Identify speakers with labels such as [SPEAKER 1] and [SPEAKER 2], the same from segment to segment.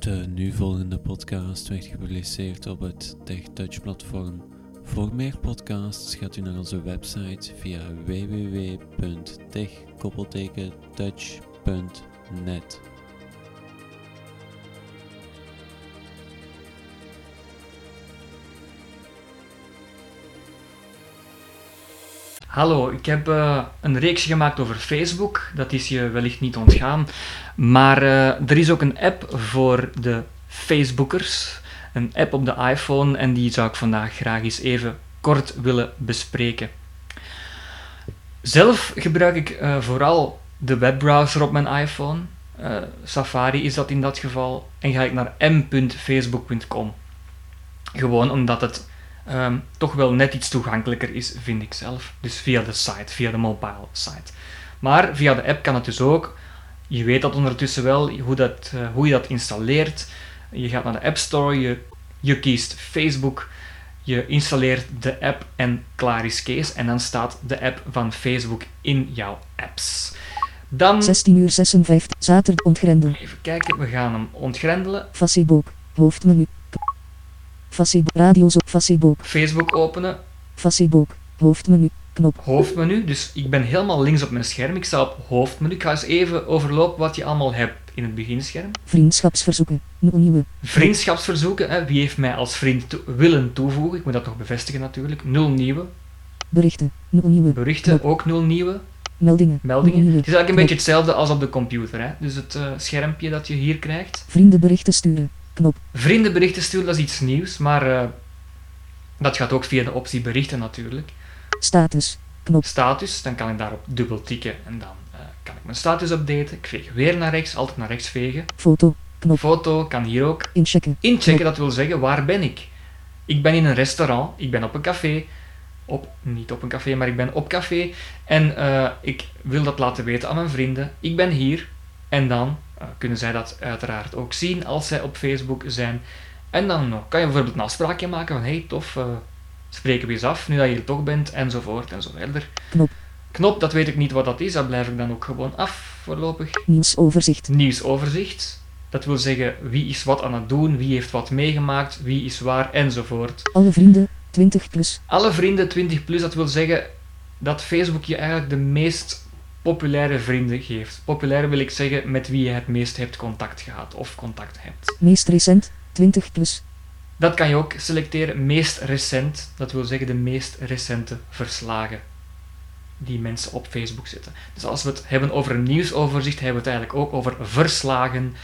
[SPEAKER 1] De eh, nu volgende podcast werd gepubliceerd op het TechTouch-platform. Voor meer podcasts gaat u naar onze website via www.tech-touch.net.
[SPEAKER 2] Hallo, ik heb eh, een reeksje gemaakt over Facebook. Dat is je wellicht niet ontgaan. Maar eh, er is ook een app voor de Facebookers. Een app op de iPhone en die zou ik vandaag graag eens even kort willen bespreken. Zelf gebruik ik eh, vooral de webbrowser op mijn iPhone. Eh, Safari is dat in dat geval. En ga ik naar m.facebook.com. Gewoon omdat het ehm, toch wel net iets toegankelijker is, vind ik zelf. Dus via de site, via de mobile site. Maar via de app kan het dus ook. Je weet dat ondertussen wel, hoe, dat, eh, hoe je dat installeert. Je gaat naar de App Store, je, je kiest Facebook, je installeert de app en klaar is Kees. En dan staat de app van Facebook in jouw apps. Dan,
[SPEAKER 3] 16 uur 56, zaterdag ontgrendel.
[SPEAKER 2] even kijken, we gaan hem ontgrendelen.
[SPEAKER 3] Facebook, hoofdmenu. K- Facebook, radio's op Facebook,
[SPEAKER 2] Facebook openen,
[SPEAKER 3] Facebook, hoofdmenu, knop.
[SPEAKER 2] hoofdmenu. Dus ik ben helemaal links op mijn scherm. Ik sta op hoofdmenu. Ik ga eens even overlopen wat je allemaal hebt in het beginscherm.
[SPEAKER 3] Vriendschapsverzoeken, n- nieuwe,
[SPEAKER 2] Vriendschapsverzoeken. Hè. Wie heeft mij als vriend to- willen toevoegen? Ik moet dat nog bevestigen natuurlijk. Nul nieuwe.
[SPEAKER 3] berichten, n- nieuwe,
[SPEAKER 2] Berichten, ook nul nieuwe.
[SPEAKER 3] meldingen,
[SPEAKER 2] Meldingen.
[SPEAKER 3] n-
[SPEAKER 2] Het is
[SPEAKER 3] nieuwe,
[SPEAKER 2] eigenlijk een
[SPEAKER 3] knop.
[SPEAKER 2] beetje hetzelfde als op de computer. Hè. Dus het eh, schermpje dat je hier krijgt.
[SPEAKER 3] Vrienden berichten sturen, knop.
[SPEAKER 2] Vriendenberichten sturen, dat is iets nieuws. Maar eh, dat gaat ook via de optie berichten natuurlijk.
[SPEAKER 3] Status, knop.
[SPEAKER 2] status, dan kan ik daarop dubbel tikken en dan eh, kan ik mijn status updaten. Ik veeg weer naar rechts, altijd naar rechts vegen.
[SPEAKER 3] Foto, knop.
[SPEAKER 2] Foto kan hier ook
[SPEAKER 3] Inchecken,
[SPEAKER 2] inchecken, dat wil zeggen waar ben ik. Ik ben in een restaurant, ik ben op een café, op, niet op een café, maar ik ben op café en eh, ik wil dat laten weten aan mijn vrienden. Ik ben hier en dan eh, kunnen zij dat uiteraard ook zien als zij op Facebook zijn. En dan nog kan je bijvoorbeeld een afspraakje maken van hey tof, eh, spreken we eens af nu dat je er toch bent enzovoort enzoverder.
[SPEAKER 3] Knop.
[SPEAKER 2] Knop, dat weet ik niet wat dat is, dat blijf ik dan ook gewoon af voorlopig.
[SPEAKER 3] nieuwsoverzicht,
[SPEAKER 2] Nieuwsoverzicht. Dat wil zeggen wie is wat aan het doen, wie heeft wat meegemaakt, wie is waar enzovoort.
[SPEAKER 3] alle vrienden, 20 plus,
[SPEAKER 2] Alle vrienden 20 plus, dat wil zeggen dat Facebook je eigenlijk de meest populaire vrienden geeft. Populair wil ik zeggen met wie je het meest hebt contact gehad of contact hebt.
[SPEAKER 3] meest recent, 20 plus,
[SPEAKER 2] Dat kan je ook selecteren, meest recent. Dat wil zeggen de meest recente verslagen die mensen op Facebook zetten. Dus als we het hebben over een nieuwsoverzicht, hebben we het eigenlijk ook over verslagen,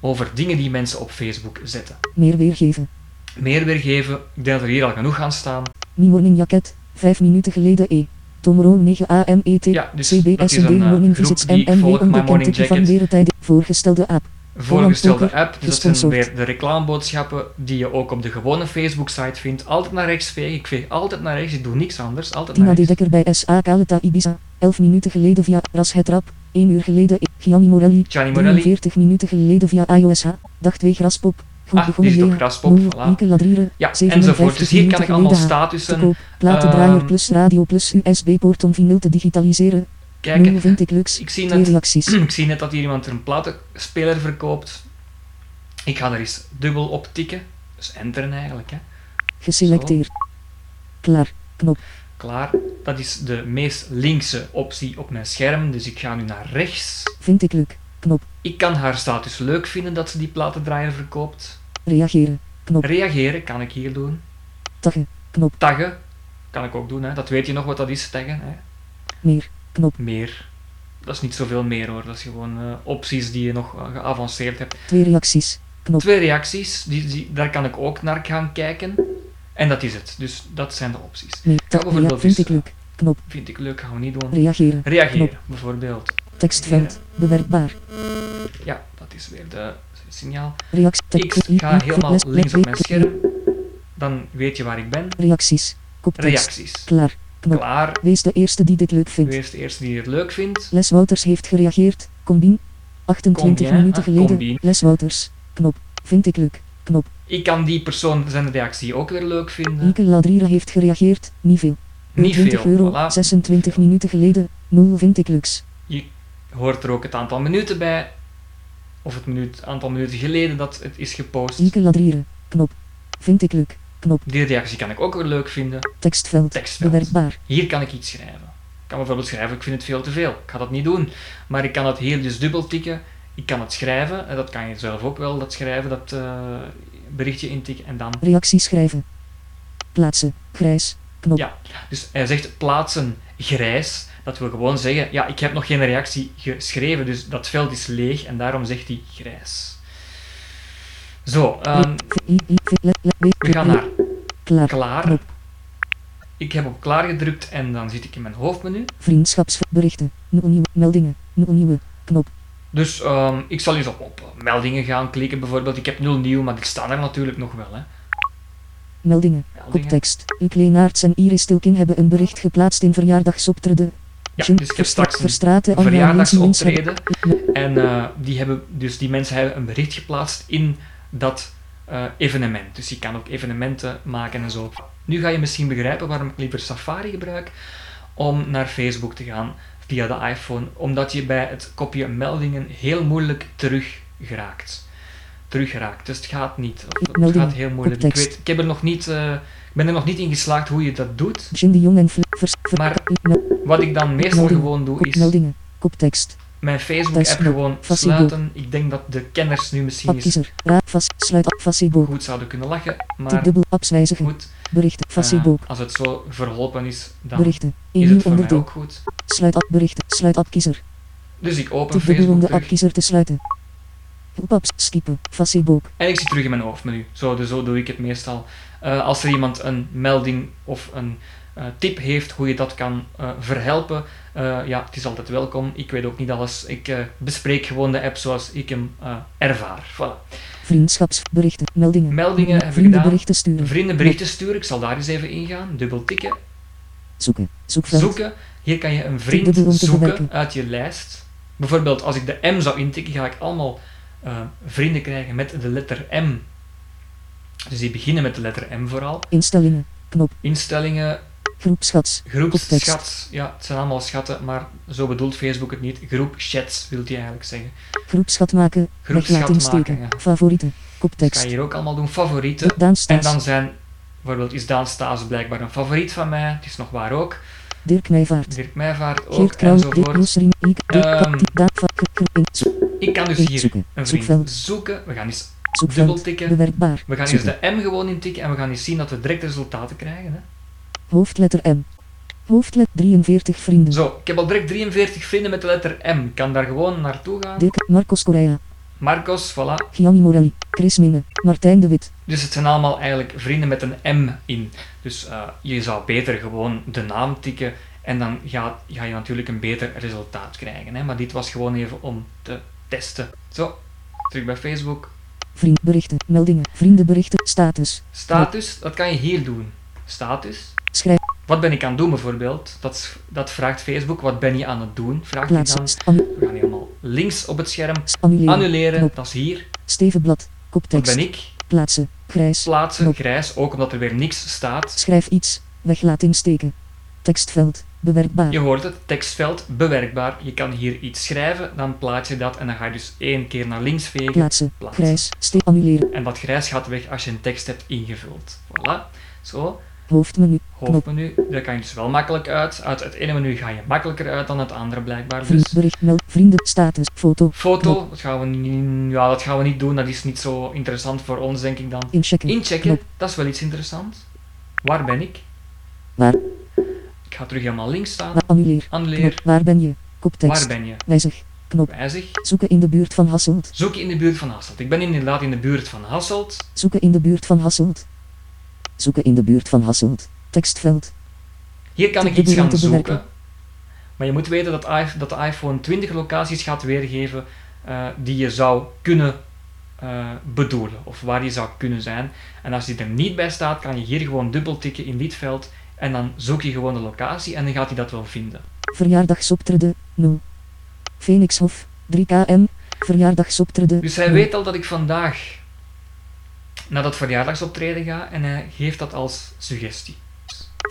[SPEAKER 2] over dingen die mensen op Facebook zetten.
[SPEAKER 3] meer weergeven.
[SPEAKER 2] Meer weergeven, ik denk dat er hier al genoeg gaan staan.
[SPEAKER 3] Mi morning jacket, 5 minuten geleden E. Tomorrow 9 AM ET.
[SPEAKER 2] Ja, dus dat is
[SPEAKER 3] CBS
[SPEAKER 2] een, eh,
[SPEAKER 3] morning
[SPEAKER 2] groep
[SPEAKER 3] visits
[SPEAKER 2] die ik
[SPEAKER 3] MMW
[SPEAKER 2] volg, My
[SPEAKER 3] om de
[SPEAKER 2] Morning
[SPEAKER 3] kenteken van
[SPEAKER 2] Jacket.
[SPEAKER 3] wereltijden. Voorgestelde app.
[SPEAKER 2] Voorgestelde
[SPEAKER 3] Holland
[SPEAKER 2] app, dus dat zijn
[SPEAKER 3] gesponsord.
[SPEAKER 2] weer de reclameboodschappen die je ook op de gewone Facebook-site vindt. Altijd naar rechts vegen, ik veeg altijd naar rechts, ik doe niks anders, altijd naar
[SPEAKER 3] Tina de
[SPEAKER 2] rechts.
[SPEAKER 3] Dekker bij SA Caleta Ibiza. 11 minuten geleden via Ras Het Rap. 1 uur geleden E. Gianni Morelli.
[SPEAKER 2] Gianni Morelli,
[SPEAKER 3] 43 minuten geleden via iOSH. Dagtweeg Raspop. Goed
[SPEAKER 2] Ah,
[SPEAKER 3] begonnen
[SPEAKER 2] die is op
[SPEAKER 3] Lea.
[SPEAKER 2] Raspop,
[SPEAKER 3] Moe,
[SPEAKER 2] voilà.
[SPEAKER 3] Mieke Ladriere.
[SPEAKER 2] ja,
[SPEAKER 3] 57
[SPEAKER 2] enzovoort. Dus hier kan ik
[SPEAKER 3] minuten
[SPEAKER 2] allemaal
[SPEAKER 3] geleden Te
[SPEAKER 2] statussen
[SPEAKER 3] koop. Platendraaier
[SPEAKER 2] ehm,
[SPEAKER 3] plus radio plus USB-poort om vinyl te digitaliseren.
[SPEAKER 2] kijken.
[SPEAKER 3] Nul vind ik luxe.
[SPEAKER 2] Ik zie
[SPEAKER 3] Twee
[SPEAKER 2] net
[SPEAKER 3] reacties.
[SPEAKER 2] Ik zie net dat hier iemand een platenspeler verkoopt. Ik ga er eens dubbel op tikken. Dus enteren eigenlijk. Hè.
[SPEAKER 3] Geselecteerd. Klaar. Knop.
[SPEAKER 2] Klaar. Dat is de meest linkse optie op mijn scherm. Dus ik ga nu naar rechts.
[SPEAKER 3] Vind ik leuk. Knop.
[SPEAKER 2] Ik kan haar status leuk vinden dat ze die platendraaier verkoopt.
[SPEAKER 3] Reageren. Knop.
[SPEAKER 2] Reageren kan ik hier doen.
[SPEAKER 3] Taggen. Knop.
[SPEAKER 2] Taggen kan ik ook doen. Hè. Dat weet je nog wat dat is, taggen. Hè.
[SPEAKER 3] Meer. Knop.
[SPEAKER 2] Meer. Dat is niet zoveel meer hoor. Dat is gewoon eh, opties die je nog eh, geavanceerd hebt.
[SPEAKER 3] Twee reacties. Knop.
[SPEAKER 2] Twee reacties, die, die, daar kan ik ook naar gaan kijken. En dat is het. Dus dat zijn de opties.
[SPEAKER 3] Meer.
[SPEAKER 2] Ja,
[SPEAKER 3] Tag.
[SPEAKER 2] bijvoorbeeld
[SPEAKER 3] Rea- Vind
[SPEAKER 2] is-
[SPEAKER 3] ik leuk. Knop.
[SPEAKER 2] Vind ik leuk, gaan we niet doen.
[SPEAKER 3] Reageren.
[SPEAKER 2] Reageren, bijvoorbeeld.
[SPEAKER 3] Tekstveld. Bewerkbaar.
[SPEAKER 2] Ja, dat is weer de het signaal.
[SPEAKER 3] Reactie.
[SPEAKER 2] Ik
[SPEAKER 3] tekst-
[SPEAKER 2] ga helemaal
[SPEAKER 3] les-
[SPEAKER 2] links op mijn
[SPEAKER 3] les-
[SPEAKER 2] scherm. Dan weet je waar ik ben.
[SPEAKER 3] Reacties. Koptekst.
[SPEAKER 2] Reacties.
[SPEAKER 3] Klaar. Knop.
[SPEAKER 2] Klaar.
[SPEAKER 3] Wees de eerste die dit leuk vindt.
[SPEAKER 2] Wees de eerste die het leuk vindt.
[SPEAKER 3] Les Wouters heeft gereageerd. Combien. 28
[SPEAKER 2] Combien,
[SPEAKER 3] minuten
[SPEAKER 2] ah,
[SPEAKER 3] geleden.
[SPEAKER 2] combien.
[SPEAKER 3] Les Wouters. Knop. Vind ik leuk. Knop.
[SPEAKER 2] Ik kan die persoon zijn reactie ook weer leuk vinden.
[SPEAKER 3] Mieke Ladriere heeft gereageerd. Niet veel.
[SPEAKER 2] Niet
[SPEAKER 3] 20
[SPEAKER 2] veel.
[SPEAKER 3] euro.
[SPEAKER 2] Voilà.
[SPEAKER 3] 26 minuten geleden. 0 vind ik luxe.
[SPEAKER 2] Je hoort er ook het aantal minuten bij. of het minuut, aantal minuten geleden dat het is gepost.
[SPEAKER 3] Ike ladrieren. Knop. Vind ik leuk. Knop.
[SPEAKER 2] Die reactie kan ik ook weer leuk vinden.
[SPEAKER 3] Tekstveld.
[SPEAKER 2] Tekstveld.
[SPEAKER 3] Bewerkbaar.
[SPEAKER 2] Hier kan ik iets schrijven. Ik kan bijvoorbeeld schrijven, ik vind het veel te veel. Ik ga dat niet doen. Maar ik kan het hier dus dubbel tikken. Ik kan het schrijven, en dat kan je zelf ook wel, dat schrijven, dat eh, berichtje intikken en dan...
[SPEAKER 3] Reactie schrijven. Plaatsen. Grijs.
[SPEAKER 2] Dus hij zegt plaatsen grijs. Dat wil gewoon zeggen, ja, ik heb nog geen reactie geschreven, dus dat veld is leeg en daarom zegt hij grijs. Zo, ehm,
[SPEAKER 3] I- I- V- Le- Le- W-
[SPEAKER 2] we gaan naar
[SPEAKER 3] Ehm, Klaar.
[SPEAKER 2] klaar.
[SPEAKER 3] Knop.
[SPEAKER 2] Ik heb op klaar gedrukt en dan zit ik in mijn hoofdmenu.
[SPEAKER 3] Vriendschapsberichten. Nul nieuwe. Meldingen. Nul nieuwe. Knop.
[SPEAKER 2] Dus ehm, ik zal eens op, op eh, meldingen gaan klikken bijvoorbeeld. Ik heb nul nieuw, maar die staan er natuurlijk nog wel. Hè.
[SPEAKER 3] Meldingen.
[SPEAKER 2] Meldingen.
[SPEAKER 3] Koptekst. Ike Leenaerts en Iris Tilking hebben een bericht geplaatst in verjaardagsoptreden.
[SPEAKER 2] Ja,
[SPEAKER 3] Jim
[SPEAKER 2] dus ik heb straks een
[SPEAKER 3] Verstraeten en Jan Mensen Mensen hebben-
[SPEAKER 2] verjaardagsoptreden. En eh, die hebben, dus die mensen hebben een bericht geplaatst in dat eh, evenement. Dus je kan ook evenementen maken en zo. Nu ga je misschien begrijpen waarom ik liever Safari gebruik om naar Facebook te gaan via de iPhone. Omdat je bij het kopje meldingen heel moeilijk terug geraakt. Terug geraakt. Dus het gaat niet. Of Het
[SPEAKER 3] Meldingen,
[SPEAKER 2] gaat heel moeilijk. Ik,
[SPEAKER 3] koptekst.
[SPEAKER 2] weet, ik, heb er nog niet, eh, ik ben er nog niet in geslaagd hoe je dat doet.
[SPEAKER 3] Jim de Jong en Fle- Vers- Ver-
[SPEAKER 2] Maar-
[SPEAKER 3] Mel-
[SPEAKER 2] Wat ik dan meestal
[SPEAKER 3] Meldingen,
[SPEAKER 2] gewoon doe
[SPEAKER 3] Kop-
[SPEAKER 2] is...
[SPEAKER 3] Meldingen. Koptekst.
[SPEAKER 2] mijn
[SPEAKER 3] Dat
[SPEAKER 2] Facebook-app
[SPEAKER 3] is nog
[SPEAKER 2] gewoon
[SPEAKER 3] Placebo.
[SPEAKER 2] sluiten. Ik denk dat de kenners nu misschien eens
[SPEAKER 3] Appkiezer. Raad vast. Sluit. Fascibo.
[SPEAKER 2] goed zouden kunnen lachen,
[SPEAKER 3] Tik
[SPEAKER 2] maar
[SPEAKER 3] dubbel. Apps wijzigen.
[SPEAKER 2] goed,
[SPEAKER 3] Berichten.
[SPEAKER 2] eh,
[SPEAKER 3] Fascibo.
[SPEAKER 2] als het zo verholpen is, dan
[SPEAKER 3] Berichten. Een
[SPEAKER 2] is
[SPEAKER 3] nieuw
[SPEAKER 2] het voor mij
[SPEAKER 3] onderdeel.
[SPEAKER 2] ook goed.
[SPEAKER 3] Sluit app berichten. Sluit app kiezer.
[SPEAKER 2] Dus ik open
[SPEAKER 3] Tik dubbel om
[SPEAKER 2] Facebook
[SPEAKER 3] de app
[SPEAKER 2] terug
[SPEAKER 3] kiezer te sluiten. Hulp apps. Skippen. Facebook.
[SPEAKER 2] en ik zit terug in mijn hoofdmenu. Zo, dus zo doe ik het meestal. Eh, als er iemand een melding of een eh, tip heeft hoe je dat kan eh, verhelpen, eh, ja, het is altijd welkom. Ik weet ook niet alles. Ik eh, bespreek gewoon de app zoals ik hem eh, ervaar. Voilà.
[SPEAKER 3] Vriendschapsberichten. Meldingen.
[SPEAKER 2] Meldingen heb ik
[SPEAKER 3] Vrienden
[SPEAKER 2] gedaan.
[SPEAKER 3] berichten sturen.
[SPEAKER 2] Vrienden berichten sturen, ik zal daar eens even ingaan. Dubbel tikken.
[SPEAKER 3] Zoeken. Zoekveld.
[SPEAKER 2] zoeken. Hier kan je een vriend
[SPEAKER 3] bedoel om te
[SPEAKER 2] zoeken
[SPEAKER 3] verwerken.
[SPEAKER 2] uit je lijst. Bijvoorbeeld, als ik de M zou intikken, ga ik allemaal eh, vrienden krijgen met de letter M. Dus die beginnen met de letter M vooral.
[SPEAKER 3] Instellingen. Knop.
[SPEAKER 2] Instellingen,
[SPEAKER 3] Groepschats. Context.
[SPEAKER 2] groepschat. Ja, het zijn allemaal schatten, maar zo bedoelt Facebook het niet. Groepchats wil hij eigenlijk zeggen.
[SPEAKER 3] Groepschat maken.
[SPEAKER 2] Groepschat
[SPEAKER 3] Weglating
[SPEAKER 2] maken,
[SPEAKER 3] steken.
[SPEAKER 2] ja.
[SPEAKER 3] Favorieten.
[SPEAKER 2] Dat kan
[SPEAKER 3] Koptekst.
[SPEAKER 2] je hier ook allemaal doen. Favorieten.
[SPEAKER 3] Daan
[SPEAKER 2] En
[SPEAKER 3] Staes.
[SPEAKER 2] dan zijn, bijvoorbeeld is Daan Staes blijkbaar een favoriet van mij. Het is nog waar ook.
[SPEAKER 3] Dirk Meijvaart.
[SPEAKER 2] Dirk Meijvaart ook,
[SPEAKER 3] Geert Krauw. Dirk
[SPEAKER 2] enzovoort.
[SPEAKER 3] Roesering. Iek. Dirk
[SPEAKER 2] Ehm,
[SPEAKER 3] Kapti. Daan van Kruin.
[SPEAKER 2] Ik kan dus hier
[SPEAKER 3] Zoeken.
[SPEAKER 2] een vriend
[SPEAKER 3] Zoekveld.
[SPEAKER 2] zoeken. We gaan eens dubbel
[SPEAKER 3] Zoekveld.
[SPEAKER 2] tikken.
[SPEAKER 3] Bewerkbaar.
[SPEAKER 2] We gaan eens
[SPEAKER 3] Zoeken.
[SPEAKER 2] de M gewoon intikken en we gaan eens zien dat we direct resultaten krijgen. Hè?
[SPEAKER 3] Hoofdletter M. Hoofdletter 43 vrienden.
[SPEAKER 2] Zo, ik heb al direct 43 vrienden met de letter M. Ik kan daar gewoon naartoe gaan.
[SPEAKER 3] Dirk, Marcos Correa,
[SPEAKER 2] Marcos, voilà.
[SPEAKER 3] Gianni Morelli, Chris Minne, Martijn de Wit,
[SPEAKER 2] Dus het zijn allemaal eigenlijk vrienden met een M in. Dus eh, je zou beter gewoon de naam tikken en dan ga, ga je natuurlijk een beter resultaat krijgen. Hè? Maar dit was gewoon even om te testen. Zo, terug bij Facebook.
[SPEAKER 3] vriendberichten, meldingen, vriendenberichten, status,
[SPEAKER 2] Status, dat kan je hier doen. Status.
[SPEAKER 3] schrijf,
[SPEAKER 2] Wat ben ik aan het doen bijvoorbeeld? Dat, is- dat vraagt Facebook. Wat ben je aan het doen? Vraagt hij
[SPEAKER 3] plaatsen,
[SPEAKER 2] dan.
[SPEAKER 3] st- annu-
[SPEAKER 2] We gaan helemaal links op het scherm.
[SPEAKER 3] st- annuleren,
[SPEAKER 2] Annuleren,
[SPEAKER 3] knop,
[SPEAKER 2] dat is hier.
[SPEAKER 3] Stevenblad,
[SPEAKER 2] Dat
[SPEAKER 3] koptekst,
[SPEAKER 2] ben ik.
[SPEAKER 3] plaatsen, grijs,
[SPEAKER 2] Plaatsen,
[SPEAKER 3] Knop.
[SPEAKER 2] grijs, ook omdat er weer niks staat.
[SPEAKER 3] schrijf iets, weglating steken, tekstveld, bewerkbaar,
[SPEAKER 2] Je hoort het, tekstveld, bewerkbaar. Je kan hier iets schrijven, dan plaats je dat en dan ga je dus één keer naar links vegen.
[SPEAKER 3] plaatsen,
[SPEAKER 2] plaatsen.
[SPEAKER 3] grijs, ste annuleren,
[SPEAKER 2] En dat grijs gaat weg als je een tekst hebt ingevuld. Voilà, zo.
[SPEAKER 3] hoofdmenu,
[SPEAKER 2] Hoofdmenu, daar kan je dus wel makkelijk uit. Uit het ene menu ga je makkelijker uit dan het andere blijkbaar. Dus
[SPEAKER 3] vriendbericht, meld, vrienden, status, foto,
[SPEAKER 2] foto, dat gaan, we niet, ja, dat gaan we niet doen. Dat is niet zo interessant voor ons, denk ik dan.
[SPEAKER 3] inchecken,
[SPEAKER 2] Inchecken,
[SPEAKER 3] knop,
[SPEAKER 2] dat is wel iets interessants. Waar ben ik?
[SPEAKER 3] Waar?
[SPEAKER 2] Ik ga terug helemaal links staan.
[SPEAKER 3] wa- annuleer,
[SPEAKER 2] Annuleer,
[SPEAKER 3] knop, waar ben je, koptekst,
[SPEAKER 2] waar ben je?
[SPEAKER 3] wijzig, knop,
[SPEAKER 2] Wijzig.
[SPEAKER 3] zoeken in de buurt van Hasselt,
[SPEAKER 2] Zoek in de buurt van Hasselt. Ik ben inderdaad in de buurt van Hasselt.
[SPEAKER 3] Zoeken in de buurt van Hasselt. Zoeken in de buurt van Hasselt. Tekstveld.
[SPEAKER 2] Hier kan
[SPEAKER 3] Te
[SPEAKER 2] ik iets
[SPEAKER 3] bedoelen
[SPEAKER 2] gaan
[SPEAKER 3] te bewerken.
[SPEAKER 2] zoeken. Maar je moet weten dat, i- dat de iPhone 20 locaties gaat weergeven eh, die je zou kunnen eh, bedoelen. Of waar je zou kunnen zijn. En als die er niet bij staat, kan je hier gewoon dubbel tikken in dit veld. En dan zoek je gewoon de locatie en dan gaat hij dat wel vinden.
[SPEAKER 3] Verjaardagsoptreden 0. Phoenixhof 3KM. Verjaardagsoptreden.
[SPEAKER 2] Dus hij
[SPEAKER 3] nul.
[SPEAKER 2] weet al dat ik vandaag naar dat verjaardagsoptreden ga en hij geeft dat als suggestie.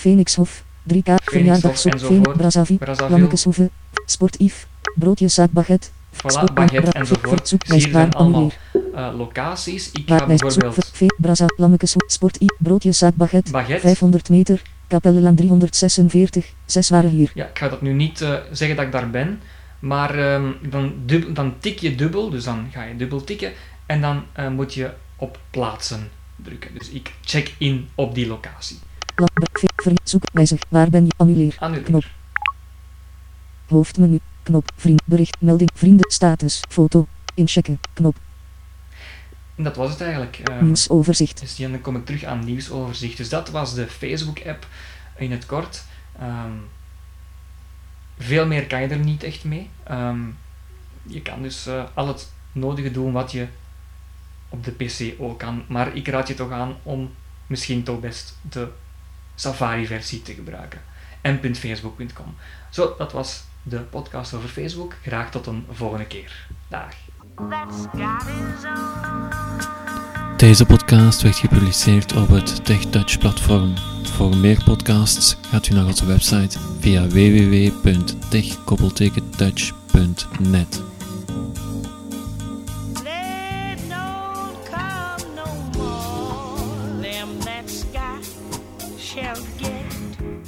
[SPEAKER 3] Phoenixhof 3K. Verjaardagsoptreden.
[SPEAKER 2] enzovoort.
[SPEAKER 3] Brazavi.
[SPEAKER 2] Brazzaville,
[SPEAKER 3] Lammekeshoeve. Sportief. Broodjeszaak Baguette.
[SPEAKER 2] Voilà, Baguette enzovoort.
[SPEAKER 3] Zoek
[SPEAKER 2] Dus hier zijn
[SPEAKER 3] waar
[SPEAKER 2] allemaal
[SPEAKER 3] annuleer.
[SPEAKER 2] eh, locaties. Ik ga
[SPEAKER 3] Waardlijst zoek
[SPEAKER 2] bijvoorbeeld
[SPEAKER 3] v brasa lammekes sport i broodjeszaak baguette.
[SPEAKER 2] Baguette.
[SPEAKER 3] 500 meter. Kapellenlaan 346. Zes waren hier.
[SPEAKER 2] Ja, ik ga dat nu niet eh, zeggen dat ik daar ben, maar ehm, dan, dub- dan tik je dubbel, dus dan ga je dubbel tikken en dan eh, moet je op plaatsen drukken. Dus ik check in op die locatie. Ah,
[SPEAKER 3] La, ba, v, ver, zoek wijzig. Waar ben je annuleer?
[SPEAKER 2] Annuleer.
[SPEAKER 3] Knop. Hoofdmenu. Knop. Vriend. Bericht. Melding. Vrienden. Status. Foto. Inchecken. Knop.
[SPEAKER 2] En dat was het eigenlijk. ehm.
[SPEAKER 3] Mm, Nieuwsoverzicht.
[SPEAKER 2] Dus dan kom ik terug aan nieuwsoverzicht. Dus dat was de Facebook-app in het kort. Ehm, veel meer kan je er niet echt mee. Ehm, je kan dus eh, al het nodige doen wat je op de PC ook kan. Maar ik raad je toch aan om misschien toch best de Safari-versie te gebruiken. En.facebook.com. Zo, dat was de podcast over Facebook. Graag tot een volgende keer. Dag.
[SPEAKER 4] That's got his own.
[SPEAKER 1] Deze podcast werd gepubliceerd op het TechTouch platform. Voor meer podcasts gaat u naar onze website via www.tech-touch.net.
[SPEAKER 4] They don't come no more. Them that's got shall